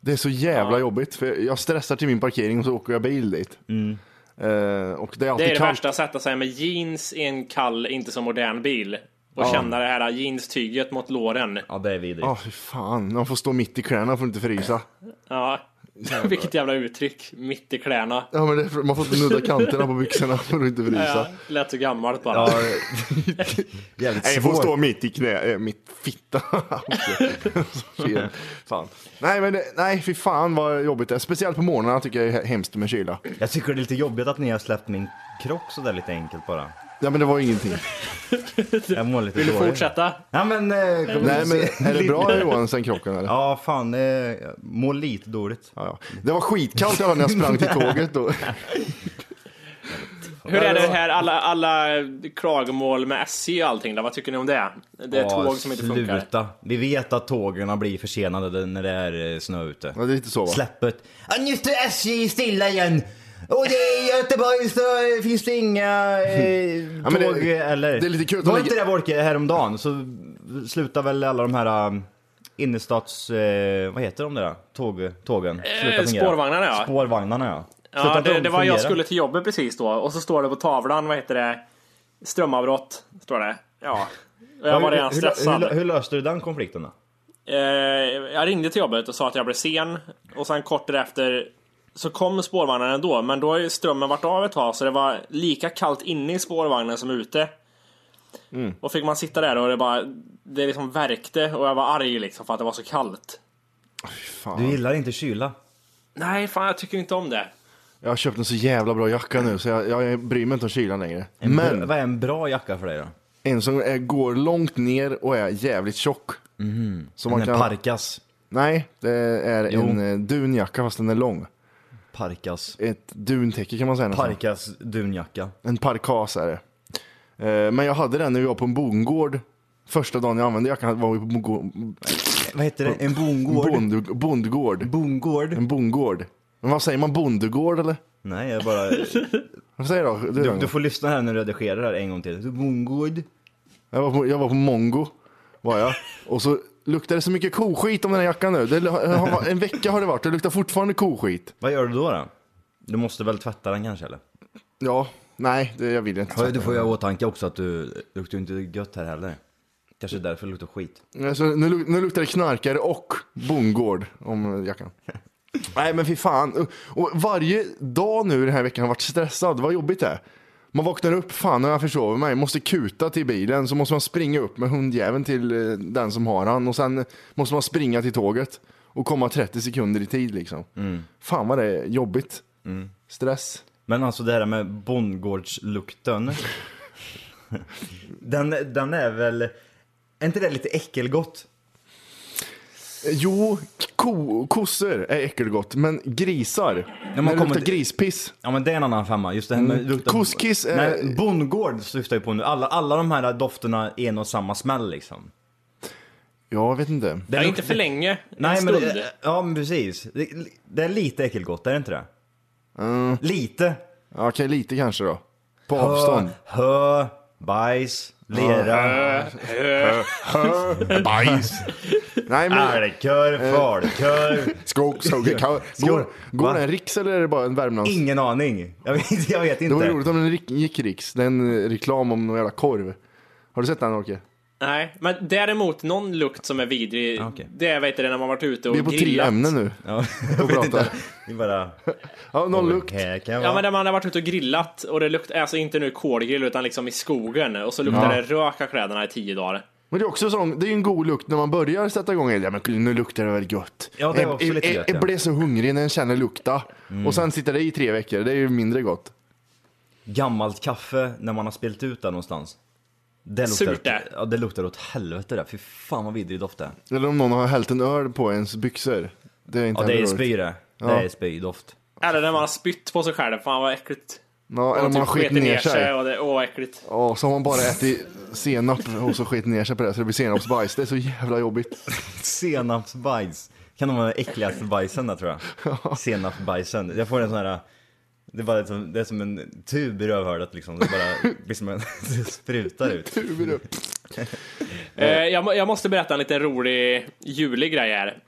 [SPEAKER 2] Det är så jävla jobbigt, för jag stressar till min parkering och så åker jag bil dit. Eh, och det är alltid
[SPEAKER 6] Mm. Det är det
[SPEAKER 2] kallt.
[SPEAKER 6] värsta, att sätta sig med jeans i en kall, inte så modern bil. Och känna det här jeanstyget mot låren.
[SPEAKER 5] Ja det är vidrigt.
[SPEAKER 2] Ja, fy fan. Man får stå mitt i kläderna för att inte frysa.
[SPEAKER 6] Ja. Vilket jävla uttryck, mitt i kläderna.
[SPEAKER 2] Ja, men det är, för- man får inte nudda kanterna på byxorna för att inte
[SPEAKER 6] Ja,
[SPEAKER 2] frysa.
[SPEAKER 6] lät så gammalt bara.
[SPEAKER 5] Ja, jävligt
[SPEAKER 2] Nej, jag får
[SPEAKER 5] svårt.
[SPEAKER 2] stå mitt i knä, eh, mitt fitta. Så fel. fan. Nej, men det, nej, fy fan vad jobbigt det är. Speciellt på morgnarna tycker jag är hemskt med kyla.
[SPEAKER 5] Jag tycker det är lite jobbigt att ni har släppt min kropp sådär lite enkelt bara.
[SPEAKER 2] Ja, men det var ju ingenting.
[SPEAKER 5] Jag mår lite
[SPEAKER 6] Vill du
[SPEAKER 5] dåligt.
[SPEAKER 6] fortsätta?
[SPEAKER 5] Ja men... Eh, kom
[SPEAKER 2] Nej, men
[SPEAKER 5] och se.
[SPEAKER 2] är det bra Johan sen krocken eller?
[SPEAKER 5] Ja fan, eh, jag mår lite dåligt.
[SPEAKER 2] Ja, ja. Det var skitkallt jag var när jag sprang till tåget. Då.
[SPEAKER 6] Hur är det här, alla, alla klagomål med SJ och allting då? Vad tycker ni om det? Det är
[SPEAKER 5] Ja,
[SPEAKER 6] tåg som inte funkar.
[SPEAKER 5] Sluta. Vi vet att tågen blir försenade när det är eh, snö ute.
[SPEAKER 2] Ja, det är lite så va?
[SPEAKER 5] Släppet. Ja, nu står SJ stilla igen. Och det i Göteborg så finns det inga eh,
[SPEAKER 2] Ja, men
[SPEAKER 5] tåg
[SPEAKER 2] det-
[SPEAKER 5] eller...
[SPEAKER 2] det är lite kul att de
[SPEAKER 5] Var
[SPEAKER 2] ligger-
[SPEAKER 5] inte det Wolke häromdagen så slutar väl alla de här um, innerstads... Eh, vad heter de där? Tåg, tågen? Slutar
[SPEAKER 6] Eh, spårvagnarna, ja.
[SPEAKER 5] Spårvagnarna ja. Slutar
[SPEAKER 6] Ja,
[SPEAKER 5] inte
[SPEAKER 6] det,
[SPEAKER 5] de
[SPEAKER 6] det var jag
[SPEAKER 5] fungera?
[SPEAKER 6] skulle till jobbet precis då och så står det på tavlan, vad heter det? Strömavbrott, står det. Ja. Och jag var
[SPEAKER 5] Hur-
[SPEAKER 6] redan
[SPEAKER 5] hur- Hur, hur,
[SPEAKER 6] stressad.
[SPEAKER 5] hur löste du den konflikten då?
[SPEAKER 6] Eh, Jag ringde till jobbet och sa att jag blev sen och sen kort därefter så kom spårvagnen ändå, men då har ju strömmen varit av ett tag så det var lika kallt inne i spårvagnen som ute.
[SPEAKER 5] Mm.
[SPEAKER 6] Och fick man sitta där och det bara, det liksom värkte och jag var arg liksom för att det var så kallt.
[SPEAKER 5] Du
[SPEAKER 2] Fan.
[SPEAKER 5] gillar inte kyla.
[SPEAKER 6] Nej, fan jag tycker inte om det.
[SPEAKER 2] Jag har köpt en så jävla bra jacka nu så jag, jag bryr mig inte om kylan längre. Men
[SPEAKER 5] Vad är en bra jacka för dig då?
[SPEAKER 2] En som är, går långt ner och är jävligt tjock. Så man
[SPEAKER 5] Mhm. En
[SPEAKER 2] kan...
[SPEAKER 5] parkas.
[SPEAKER 2] Nej, det är
[SPEAKER 5] Jo.
[SPEAKER 2] en eh, dunjacka fast den är lång.
[SPEAKER 5] Parkas.
[SPEAKER 2] Ett duntäcke kan man säga nästan.
[SPEAKER 5] Parkas dunjacka.
[SPEAKER 2] En parkas är det. Eh, Men jag hade den när vi var på en bondgård. Första dagen jag använde jackan var vi på bondgå-
[SPEAKER 5] Vad heter det? En bondgård?
[SPEAKER 2] bond, bondgård.
[SPEAKER 5] bondgård?
[SPEAKER 2] En bondgård. Men vad säger man? Bondegård eller?
[SPEAKER 5] Nej, jag bara...
[SPEAKER 2] Vad säger du? då?
[SPEAKER 5] Du, du får lyssna här när du redigerar det här en gång till. Bondgård?
[SPEAKER 2] Jag var, på, jag var på Mongo, var jag. Och så luktade det så mycket koskit om den här jackan nu. Det, har- en vecka har det varit, det luktar fortfarande koskit.
[SPEAKER 5] Vad gör du då då? Du måste väl tvätta den kanske eller?
[SPEAKER 2] Ja, nej, det, jag vill inte.
[SPEAKER 5] du får ju ha i åtanke också att du luktar ju inte gött här heller. Kanske därför det luktar skit.
[SPEAKER 2] Alltså, nu, luk- nu luktar det knarkare och bondgård om jackan. Nej men fy fan. Och varje dag nu den här veckan har varit stressad. Vad jobbigt det är. Man vaknar upp, fan har jag försovit mig, måste kuta till bilen, så måste man springa upp med hundjäveln till eh, den som har han och sen måste man springa till tåget och komma 30 sekunder i tid liksom.
[SPEAKER 5] Mm.
[SPEAKER 2] Fan vad det är jobbigt. Stress.
[SPEAKER 5] Men alltså det här med bondgårdslukten. den, den är väl Är inte det lite äckelgott?
[SPEAKER 2] Eh, Jo, ko, kossor är äckelgott, men grisar.
[SPEAKER 5] man
[SPEAKER 2] när det
[SPEAKER 5] kommer
[SPEAKER 2] luktar
[SPEAKER 5] till-
[SPEAKER 2] grispiss.
[SPEAKER 5] Ja men det är en annan femma, just det här med
[SPEAKER 2] Mm.
[SPEAKER 5] lukten-
[SPEAKER 2] Couscous är-
[SPEAKER 5] Nej, bondgård syftar ju på nu, alla, alla de här dofterna är en och samma smäll liksom.
[SPEAKER 2] Ja, jag vet inte.
[SPEAKER 5] Det
[SPEAKER 6] Ja,
[SPEAKER 5] luk-
[SPEAKER 6] inte för länge.
[SPEAKER 5] Nej
[SPEAKER 6] en
[SPEAKER 5] men,
[SPEAKER 6] stund.
[SPEAKER 5] det, ja men precis. Det, det är lite äckelgott, är det inte det?
[SPEAKER 2] Mm.
[SPEAKER 5] Lite.
[SPEAKER 2] Ja, Okej, lite kanske då. På avstånd.
[SPEAKER 5] Hö, bajs, lera,
[SPEAKER 2] Bajs. Nej, men Eh.
[SPEAKER 5] älgkorv, falukorv.
[SPEAKER 2] skog, skog, ka-
[SPEAKER 5] Skog.
[SPEAKER 2] Går, går
[SPEAKER 5] Va?
[SPEAKER 2] det en riks eller är det bara en Värmlands?
[SPEAKER 5] Ingen aning. Jag vet, jag vet
[SPEAKER 2] Det
[SPEAKER 5] inte.
[SPEAKER 2] var roligt om den rik- gick riks. Det är en reklam om någon jävla korv. Har du sett den Orke?
[SPEAKER 6] Nej, men däremot någon lukt som är vidrig.
[SPEAKER 5] Ah, okej.
[SPEAKER 6] Det vet jag när man varit ute och
[SPEAKER 2] Vi är på tre
[SPEAKER 6] grillat.
[SPEAKER 2] ämnen nu.
[SPEAKER 5] Ja, jag vet
[SPEAKER 2] prata.
[SPEAKER 5] inte. Det är bara...
[SPEAKER 2] Ja, någon lukt.
[SPEAKER 5] Här kan
[SPEAKER 6] Ja
[SPEAKER 5] vara.
[SPEAKER 6] men där man har varit ute och grillat och det luktar, alltså inte nu kolgrill utan liksom i skogen och så luktar det rök av kläderna i tio dagar.
[SPEAKER 2] Men det är också sån, det är ju en god lukt när man börjar sätta igång elden. Ja, men nu luktar det väl gött.
[SPEAKER 5] Ja, det är också
[SPEAKER 2] jag,
[SPEAKER 5] lite
[SPEAKER 2] jag,
[SPEAKER 5] gött,
[SPEAKER 2] jag
[SPEAKER 5] ja.
[SPEAKER 2] blev så hungrig när jag känner lukta. Och sen sitter det i tre veckor. Det är ju mindre gott.
[SPEAKER 5] Gammalt kaffe när man har spilt ut det någonstans. Det luktar,
[SPEAKER 6] Surt det.
[SPEAKER 5] Ja, det luktar åt helvete där. Fy fan vad vidrig doft det är.
[SPEAKER 2] Eller om någon har hällt en öl på ens byxor. Det är inte
[SPEAKER 5] Ja, det
[SPEAKER 2] heller
[SPEAKER 5] är
[SPEAKER 2] roligt.
[SPEAKER 5] spy det. Det är spydoft.
[SPEAKER 6] Eller när man har spytt på sig själv, fan vad äckligt.
[SPEAKER 2] Ja, eller om
[SPEAKER 6] Och typ
[SPEAKER 2] man har skit ner sig.
[SPEAKER 6] och det, åh vad äckligt.
[SPEAKER 2] Ja, så har man bara ätit senap och så skit ner sig på det så det blir senapsbajs. Det är så jävla jobbigt.
[SPEAKER 5] Senapsbajs. Kan de vara den äckligaste bajsen där tror jag. Senapsbajsen. Jag får en sån här... Det är, bara som, det är som en tub i rövhålet liksom. Det bara blir som en, det sprutar ut.
[SPEAKER 6] Eh, jag, må- jag måste berätta en liten rolig julig grej här.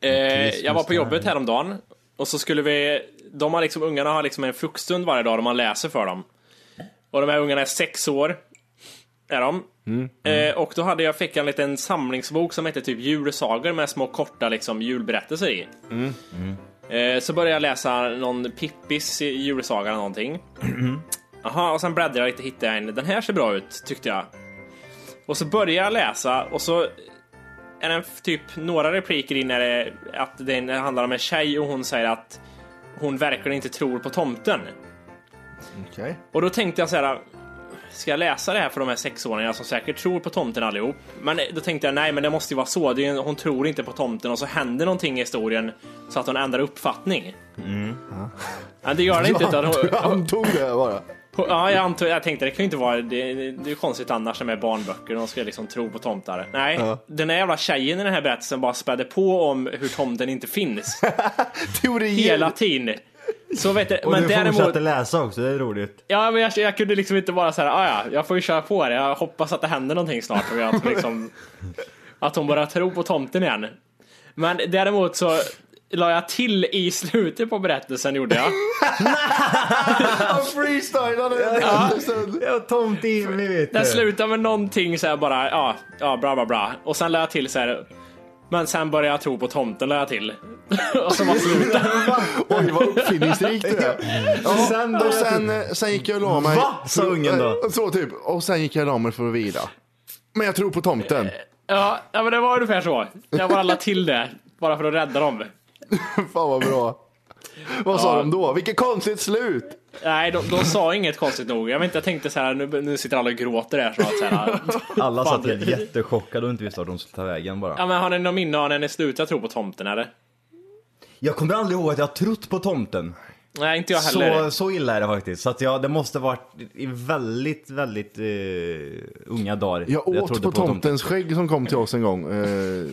[SPEAKER 6] Eh, jag var på jobbet häromdagen och så skulle vi, de har liksom, ungarna har liksom en fruktstund varje dag och man läser för dem. Och de här ungarna är sex år. Är de. Eh, och då hade jag, fick jag en liten samlingsbok som hette typ julsagor med små korta liksom julberättelser i. Eh, så började jag läsa någon Pippis julsaga eller någonting. Jaha, och sen bläddrade jag lite hittade jag en, den här ser bra ut tyckte jag. Och så börjar jag läsa och så är det typ några repliker in när det, att det handlar om en tjej och hon säger att hon verkligen inte tror på tomten.
[SPEAKER 2] Okej.
[SPEAKER 6] Och då tänkte jag så här. Ska jag läsa det här för de här sexåringarna som säkert tror på tomten allihop? Men då tänkte jag nej, men det måste ju vara så. Det är, ju- hon tror inte på tomten och så händer någonting i historien så att hon ändrar uppfattning. Men det gör det inte. Utan hon,
[SPEAKER 2] Du antog det bara.
[SPEAKER 6] på- Ja, jag, antog, jag tänkte det kan ju inte vara... Det, det är ju konstigt annars med barnböcker. De ska liksom tro på tomtar. Nej, den här jävla tjejen i den här berättelsen bara spädde på om hur tomten inte finns.
[SPEAKER 2] Teorier.
[SPEAKER 6] Hela tiden. Så vet du,
[SPEAKER 5] Och
[SPEAKER 6] men
[SPEAKER 5] du
[SPEAKER 6] däremot...
[SPEAKER 5] fortsatte läsa också, det är roligt.
[SPEAKER 6] Ja, men jag, jag kunde liksom inte bara säga ah, ja, jag får ju köra på det. Jag hoppas att det händer någonting snart. Och att, liksom, att hon börjar tro på tomten igen. Men däremot så la jag till i slutet på berättelsen gjorde jag.
[SPEAKER 2] Han freestylade. Ja.
[SPEAKER 5] Ja, tomt in i vet
[SPEAKER 6] Den slutar med någonting så här bara, ja, ja, bra, bra, bra. Och sen lade jag till så här. Men sen började jag tro på tomten lade jag till. och så var slut.
[SPEAKER 2] Oj, vad uppfinningsrikt det är.
[SPEAKER 5] Ja, sen då-
[SPEAKER 2] Och sen, eh, sen gick jag och la mig.
[SPEAKER 5] Va? Sa ungen då.
[SPEAKER 2] Så typ. Och sen gick jag och la mig för att vila. Men jag tror på tomten.
[SPEAKER 6] Ja, ja, men det var ungefär så. Jag bara lade till det. Bara för att rädda dem.
[SPEAKER 2] Fan vad bra. Vad sa
[SPEAKER 6] Ja.
[SPEAKER 2] de då? Vilket konstigt slut.
[SPEAKER 6] Nej, de, de sa inget konstigt nog. Jag vet inte, jag tänkte så här, nu, nu sitter alla och gråter här snart. Så här.
[SPEAKER 5] Alla
[SPEAKER 6] Fan,
[SPEAKER 5] satt helt
[SPEAKER 6] det-
[SPEAKER 5] jättechockade och inte visste vart de skulle ta vägen bara.
[SPEAKER 6] Ja, men har ni någon minne av när ni slutade tro på tomten eller?
[SPEAKER 5] Jag kommer aldrig ihåg att jag har trott på tomten.
[SPEAKER 6] Nej, inte jag heller.
[SPEAKER 5] Så, så illa är det faktiskt. Så att jag, det måste varit i väldigt, väldigt eh, unga dagar.
[SPEAKER 2] Jag åt
[SPEAKER 5] trodde
[SPEAKER 2] på, typ. tomtens skägg som kom till oss en gång. Eh,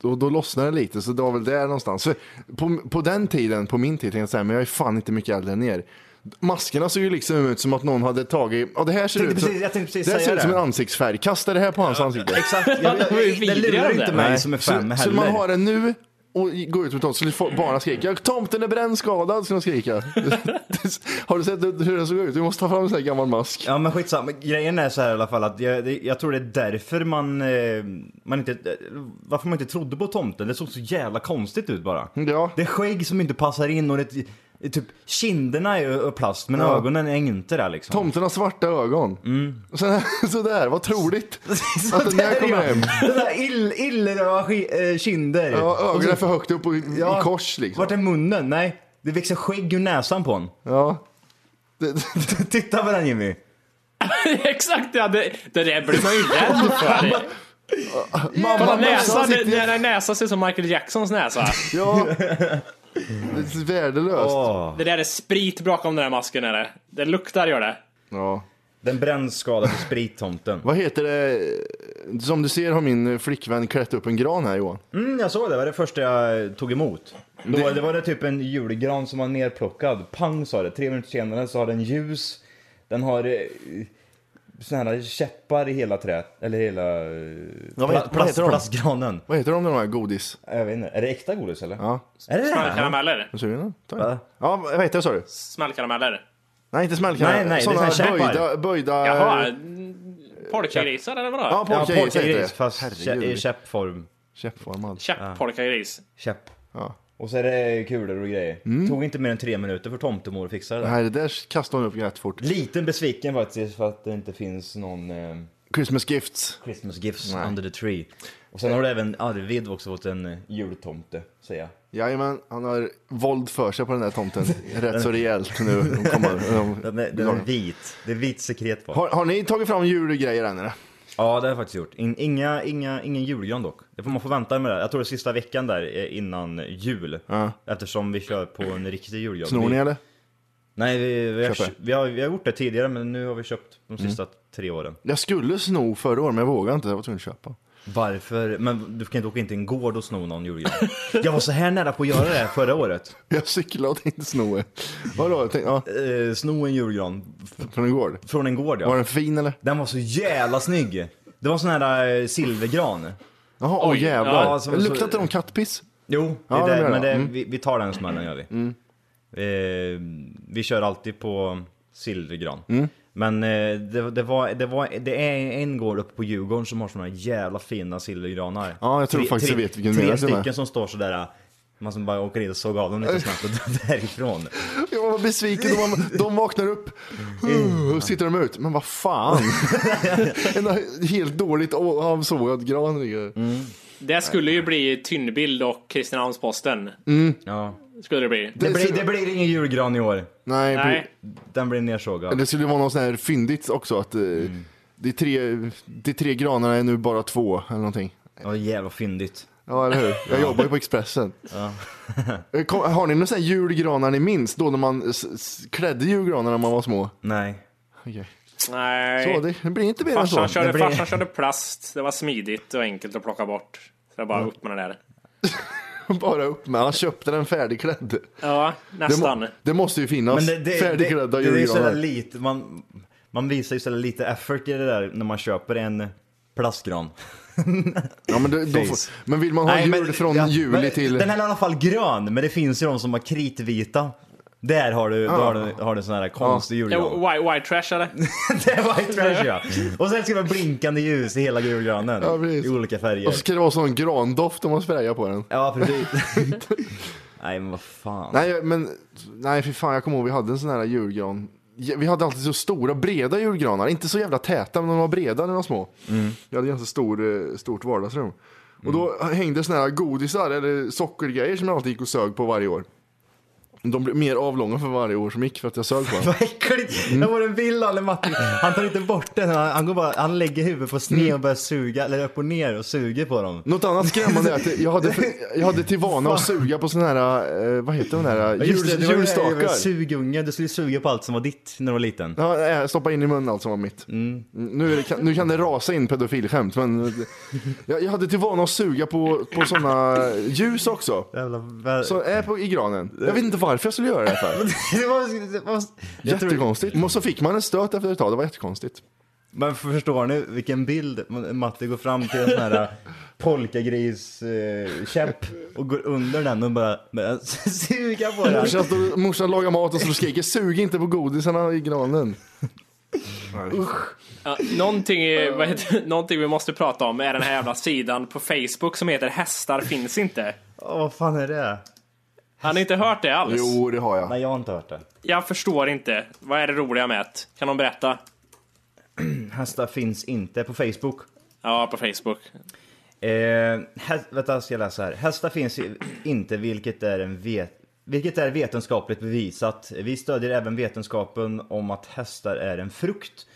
[SPEAKER 2] då, då lossnade det lite, så det var väl där någonstans. För på, på den tiden, på min tid, tänkte jag så här, men jag är fan inte mycket äldre än er. Maskerna såg ju liksom ut som att någon hade tagit, ja det här ser
[SPEAKER 5] Tänkte
[SPEAKER 2] ut som,
[SPEAKER 5] precis- jag tänkte precis
[SPEAKER 2] det här
[SPEAKER 5] säga
[SPEAKER 2] ser ut som
[SPEAKER 5] det.
[SPEAKER 2] en ansiktsfärg, kasta det här på hans ansikte.
[SPEAKER 5] Exakt, jag, jag,
[SPEAKER 6] var ju
[SPEAKER 5] det lurar ju
[SPEAKER 6] vidrigare.
[SPEAKER 5] inte mig
[SPEAKER 2] Nej.
[SPEAKER 5] som är
[SPEAKER 2] så,
[SPEAKER 5] fem
[SPEAKER 2] så
[SPEAKER 5] heller.
[SPEAKER 2] man har det nu och går ut med tomten så får barnen skrika, tomten är brännskadad, ska de skrika. har du sett hur den såg ut? Vi måste ta fram en sån här gammal mask.
[SPEAKER 5] Ja men skitsamma, grejen är så här i alla fall att jag, det, jag tror det är därför man, eh, man inte, eh, varför man inte trodde på tomten. Det såg så jävla konstigt ut bara.
[SPEAKER 2] Ja.
[SPEAKER 5] Det är skägg som inte passar in och det, det är typ kinderna är ju plast men
[SPEAKER 2] Ja.
[SPEAKER 5] ögonen är inte där liksom.
[SPEAKER 2] Tomten har svarta ögon. Och sen, sådär, vad troligt.
[SPEAKER 5] Så
[SPEAKER 2] Att den där
[SPEAKER 5] där
[SPEAKER 2] Alltså, kommer
[SPEAKER 5] ja.
[SPEAKER 2] hem.
[SPEAKER 5] Det där ill, illröda sk- eh, kinder.
[SPEAKER 2] Ja,
[SPEAKER 5] Och
[SPEAKER 2] ögonen
[SPEAKER 5] så-
[SPEAKER 2] är för högt upp och i,
[SPEAKER 5] Ja.
[SPEAKER 2] i kors liksom.
[SPEAKER 5] Vart är munnen? Nej, det växer skägg ur näsan på honom.
[SPEAKER 2] Ja. Det, det,
[SPEAKER 5] Titta på den Jimmy.
[SPEAKER 6] Exakt, ja, det, det där blir man ju rädd för. Kolla
[SPEAKER 2] Mamma,
[SPEAKER 6] näsan,
[SPEAKER 2] mössan
[SPEAKER 6] det-
[SPEAKER 2] sitter...
[SPEAKER 6] den här näsan ser ut som Michael Jacksons näsa.
[SPEAKER 2] Ja. Det är värdelöst.
[SPEAKER 6] Det där är sprit bakom den här masken är det. Det luktar gör det.
[SPEAKER 2] Ja.
[SPEAKER 5] Den brännskadade sprittomten.
[SPEAKER 2] Vad heter det? Som du ser har min flickvän klätt upp en gran här Johan.
[SPEAKER 5] Mm, jag såg det, det var det första jag eh, tog emot. Då, det... var det typ en julgran som var nerplockad. Pang sa det, tre minuter senare så har den ljus. Den har eh, såna här käppar i hela trät, eller hela ja,
[SPEAKER 2] vad heter- vad heter de?
[SPEAKER 5] plastgranen.
[SPEAKER 2] Vad heter de de här godis?
[SPEAKER 5] Jag vet inte, är det äkta godis eller?
[SPEAKER 2] Ja.
[SPEAKER 5] Är det det? här?
[SPEAKER 6] Smällkarameller.
[SPEAKER 2] Är du sugen? Tack.
[SPEAKER 5] Va?
[SPEAKER 2] Ja, vad heter det sa du?
[SPEAKER 6] Smällkarameller.
[SPEAKER 2] Nej, inte smällkarameller.
[SPEAKER 5] Nej, nej, det
[SPEAKER 2] Såna
[SPEAKER 5] är såna här käppar.
[SPEAKER 2] böjda... böjda...
[SPEAKER 6] Jaha. Polkagrisar eller
[SPEAKER 2] Ja,
[SPEAKER 6] vadå?
[SPEAKER 5] Ja,
[SPEAKER 2] polkagris heter
[SPEAKER 5] polkagris
[SPEAKER 2] det.
[SPEAKER 5] fast kä- i
[SPEAKER 2] Herregud.
[SPEAKER 5] käppform.
[SPEAKER 2] Käppformad.
[SPEAKER 6] Käpp-polkagris.
[SPEAKER 5] Käpp.
[SPEAKER 2] Ja. Mm.
[SPEAKER 5] Och så är det kulor och grejer. Tog inte mer än tre minuter för tomtemor att fixa det. där.
[SPEAKER 2] Nej, det där kastade hon upp rätt fort.
[SPEAKER 5] Liten besviken faktiskt för att det inte finns någon eh,
[SPEAKER 2] Christmas gifts.
[SPEAKER 5] Christmas gifts under the tree. Och sen har du även Arvid också fått en eh, jultomte, säger jag.
[SPEAKER 2] Jajamän, han har våld för sig på den där tomten. Rätt så rejält nu. De kommer, de,
[SPEAKER 5] Den är, den är vit. Det är vit sekret på.
[SPEAKER 2] Har, har ni tagit fram julgrejer än eller?
[SPEAKER 5] Ja, det har jag faktiskt gjort. In, inga, inga, ingen julgran dock. Det får man får vänta med det. Jag tror det är sista veckan där eh, innan jul.
[SPEAKER 2] Ja.
[SPEAKER 5] Eftersom vi kör på en riktig julgran.
[SPEAKER 2] Snor ni
[SPEAKER 5] vi,
[SPEAKER 2] eller?
[SPEAKER 5] Nej, vi, vi, har,
[SPEAKER 2] Köper. Mm.
[SPEAKER 5] vi, har, vi har gjort det tidigare men nu har vi köpt de sista tre åren.
[SPEAKER 2] Jag skulle sno förra året men jag vågade inte. Jag var tvungen att köpa.
[SPEAKER 5] Varför? Men du kan inte åka in till en gård och sno någon julgran. jag var så här nära på att göra det förra året.
[SPEAKER 2] Jag cyklade och tänkte sno en. Vadå? Jag tänkte, ja,
[SPEAKER 5] Eh, sno en julgran f-
[SPEAKER 2] från en gård.
[SPEAKER 5] från en gård ja.
[SPEAKER 2] Var den fin eller?
[SPEAKER 5] Den var så jävla snygg! Det var sån här eh, silvergran.
[SPEAKER 2] Jaha, åh jävlar.
[SPEAKER 5] ja, som-
[SPEAKER 2] Luktade inte
[SPEAKER 5] så-
[SPEAKER 2] de kattpiss?
[SPEAKER 5] Jo, det
[SPEAKER 2] Ja, det
[SPEAKER 5] är det,
[SPEAKER 2] menar
[SPEAKER 5] men det,
[SPEAKER 2] jag. Mm.
[SPEAKER 5] vi, vi tar den smällen gör vi. Eh, vi kör alltid på silvergran.
[SPEAKER 2] Mm.
[SPEAKER 5] Men eh, det, det, var, det, var, det är en gård uppe på Djurgården som har såna här jävla fina silvergranar.
[SPEAKER 2] Ja, jag tror faktiskt
[SPEAKER 5] tre,
[SPEAKER 2] jag vet vilken du
[SPEAKER 5] Tre
[SPEAKER 2] menar till och med.
[SPEAKER 5] stycken som står sådär, eh, man som bara åker in och såg av dem lite snabbt och därifrån.
[SPEAKER 2] Jag var besviken. De, var- de vaknar upp och sitter de ut. Men vad fan. en helt dåligt å- avsågad gran ligger
[SPEAKER 6] Det skulle ju bli Tynnbild och Kristinehamns-Posten.
[SPEAKER 2] Mm.
[SPEAKER 5] Ja.
[SPEAKER 6] Skulle det bli.
[SPEAKER 5] Det, blir, det blir ingen julgran i år.
[SPEAKER 2] Nej,
[SPEAKER 6] Nej.
[SPEAKER 5] Den blir nersågad.
[SPEAKER 2] Det skulle vara något sånt här fyndigt också. Att, eh,
[SPEAKER 5] Mm.
[SPEAKER 2] de, tre, de tre granarna är nu bara två eller någonting.
[SPEAKER 5] Ja, jävla fyndigt.
[SPEAKER 2] Ja, eller hur? Jag jobbar ju på Expressen. Eh, kom- Har ni några sån här julgranar ni minns? Då när man s- s- klädde julgranar när man var små?
[SPEAKER 5] Nej.
[SPEAKER 2] Okej.
[SPEAKER 6] Nej.
[SPEAKER 2] Så, det blir inte mer än så.
[SPEAKER 6] Farsan körde,
[SPEAKER 5] blir-
[SPEAKER 6] farsan körde plast. Det var smidigt och enkelt att plocka bort. Så det var bara upp med den där.
[SPEAKER 2] Bara upp med. Han köpte den färdigklädd.
[SPEAKER 6] Ja,
[SPEAKER 2] Det, må-
[SPEAKER 6] nästan.
[SPEAKER 2] det måste ju finnas
[SPEAKER 5] Men det, det,
[SPEAKER 2] färdigklädda
[SPEAKER 5] det, det är ju
[SPEAKER 2] julgranar.
[SPEAKER 5] sådär lite, man, man visar ju sådär lite effort i det där när man köper en plastgran.
[SPEAKER 2] ja, men, det, då
[SPEAKER 5] Face.
[SPEAKER 2] får, men vill man ha jul från
[SPEAKER 5] ja,
[SPEAKER 2] juli
[SPEAKER 5] men
[SPEAKER 2] till...
[SPEAKER 5] Den här är i alla fall grön, men det finns ju de som har kritvita. Där har du, då har du, har du sån här konstig
[SPEAKER 6] Ja,
[SPEAKER 5] julgran.
[SPEAKER 6] white, white trash eller?
[SPEAKER 5] det är white trash ja. Och sen ska det vara blinkande ljus i hela julgranen.
[SPEAKER 2] Ja, precis.
[SPEAKER 5] I olika färger.
[SPEAKER 2] Och så ska det vara sån grandoft om man sprayar på den.
[SPEAKER 5] Ja, precis. Nej men vad fan.
[SPEAKER 2] Nej, men nej, för fan, jag kommer ihåg vi hade en sån här julgran. Ja, Vi hade alltid så stora breda julgranar, inte så jävla täta, men de var breda när de var små.
[SPEAKER 5] Mm.
[SPEAKER 2] Jag hade ganska stor, eh, stort vardagsrum. Och då
[SPEAKER 5] Mm.
[SPEAKER 2] hängde såna här godisar eller sockergrejer som jag alltid gick och sög på varje år. De blev mer avlånga för varje år som gick för att jag sög på dem.
[SPEAKER 5] Vad äckligt! Jag får en bild av när Martin, han tar inte bort den, han, han, går bara, han lägger huvudet på sned och börjar suga, eller upp och ner och suger på dem.
[SPEAKER 2] Något annat skrämmande är att jag hade, jag hade till vana att suga på såna här, eh, vad heter de där,
[SPEAKER 5] Just det,
[SPEAKER 2] jul,
[SPEAKER 5] det var ju det här med
[SPEAKER 2] julstakar.
[SPEAKER 5] Sugunge, du skulle ju suga på allt som var ditt när du var liten.
[SPEAKER 2] Ja, nej, stoppa in i munnen allt som var mitt. Mm, Nu, är det, kan- nu kan det rasa in pedofilskämt, men jag, jag hade till vana att suga på, på sådana ljus också.
[SPEAKER 5] Jävla vä-
[SPEAKER 2] Så är på, i granen. Jag vet inte varför jag skulle göra det här för.
[SPEAKER 5] det var, det var, jag tror,
[SPEAKER 2] Jättekonstigt. Och så fick man en stöt efter ett tag, det var jättekonstigt.
[SPEAKER 5] men förstår ni vilken bild Matti går fram till en sån här äh, polkagris eh, käpp och går under den och bara börjar suga på den.
[SPEAKER 2] Morsan, stod, morsan lagar mat och så skriker sug inte på godisarna i granen.
[SPEAKER 6] Ja, någonting, är- vad heter, någonting vi måste prata om är den här jävla sidan på Facebook som heter Hästar finns inte.
[SPEAKER 5] Åh, vad fan är det?
[SPEAKER 6] Har ni inte hört det alls?
[SPEAKER 2] Jo, det har jag.
[SPEAKER 5] Nej jag har inte hört det.
[SPEAKER 6] Jag förstår inte. Vad är det roliga med det? Kan någon berätta?
[SPEAKER 5] Hästar finns inte på Facebook.
[SPEAKER 6] Ja, på Facebook.
[SPEAKER 5] Eh, hä- vänta, ska jag läsa här. Hästar finns ju inte, vilket är, en vet- vilket är vetenskapligt bevisat. Vi stödjer även vetenskapen om att hästar är en frukt.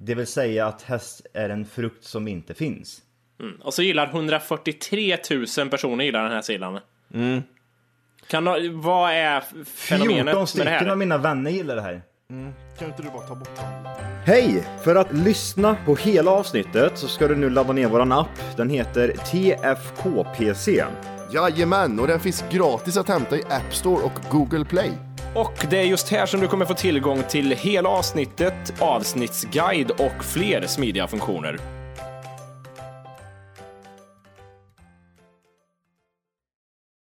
[SPEAKER 5] Det vill säga att häst är en frukt som inte finns.
[SPEAKER 6] Och så gillar 143 000 personer gillar den här sidan.
[SPEAKER 5] Mm.
[SPEAKER 6] Kan, du- vad är fenomenet
[SPEAKER 5] 14
[SPEAKER 6] med det
[SPEAKER 5] stycken av
[SPEAKER 6] här?
[SPEAKER 5] mina vänner gillar det här.
[SPEAKER 2] Kan inte du bara ta bort
[SPEAKER 5] Hej! För att lyssna på hela avsnittet så ska du nu ladda ner våran app. Den heter TFKPC.
[SPEAKER 2] Jajamän, och den finns gratis att hämta i App Store och Google Play.
[SPEAKER 3] Och det är just här som du kommer få tillgång till hela avsnittet, avsnittsguide och fler smidiga funktioner.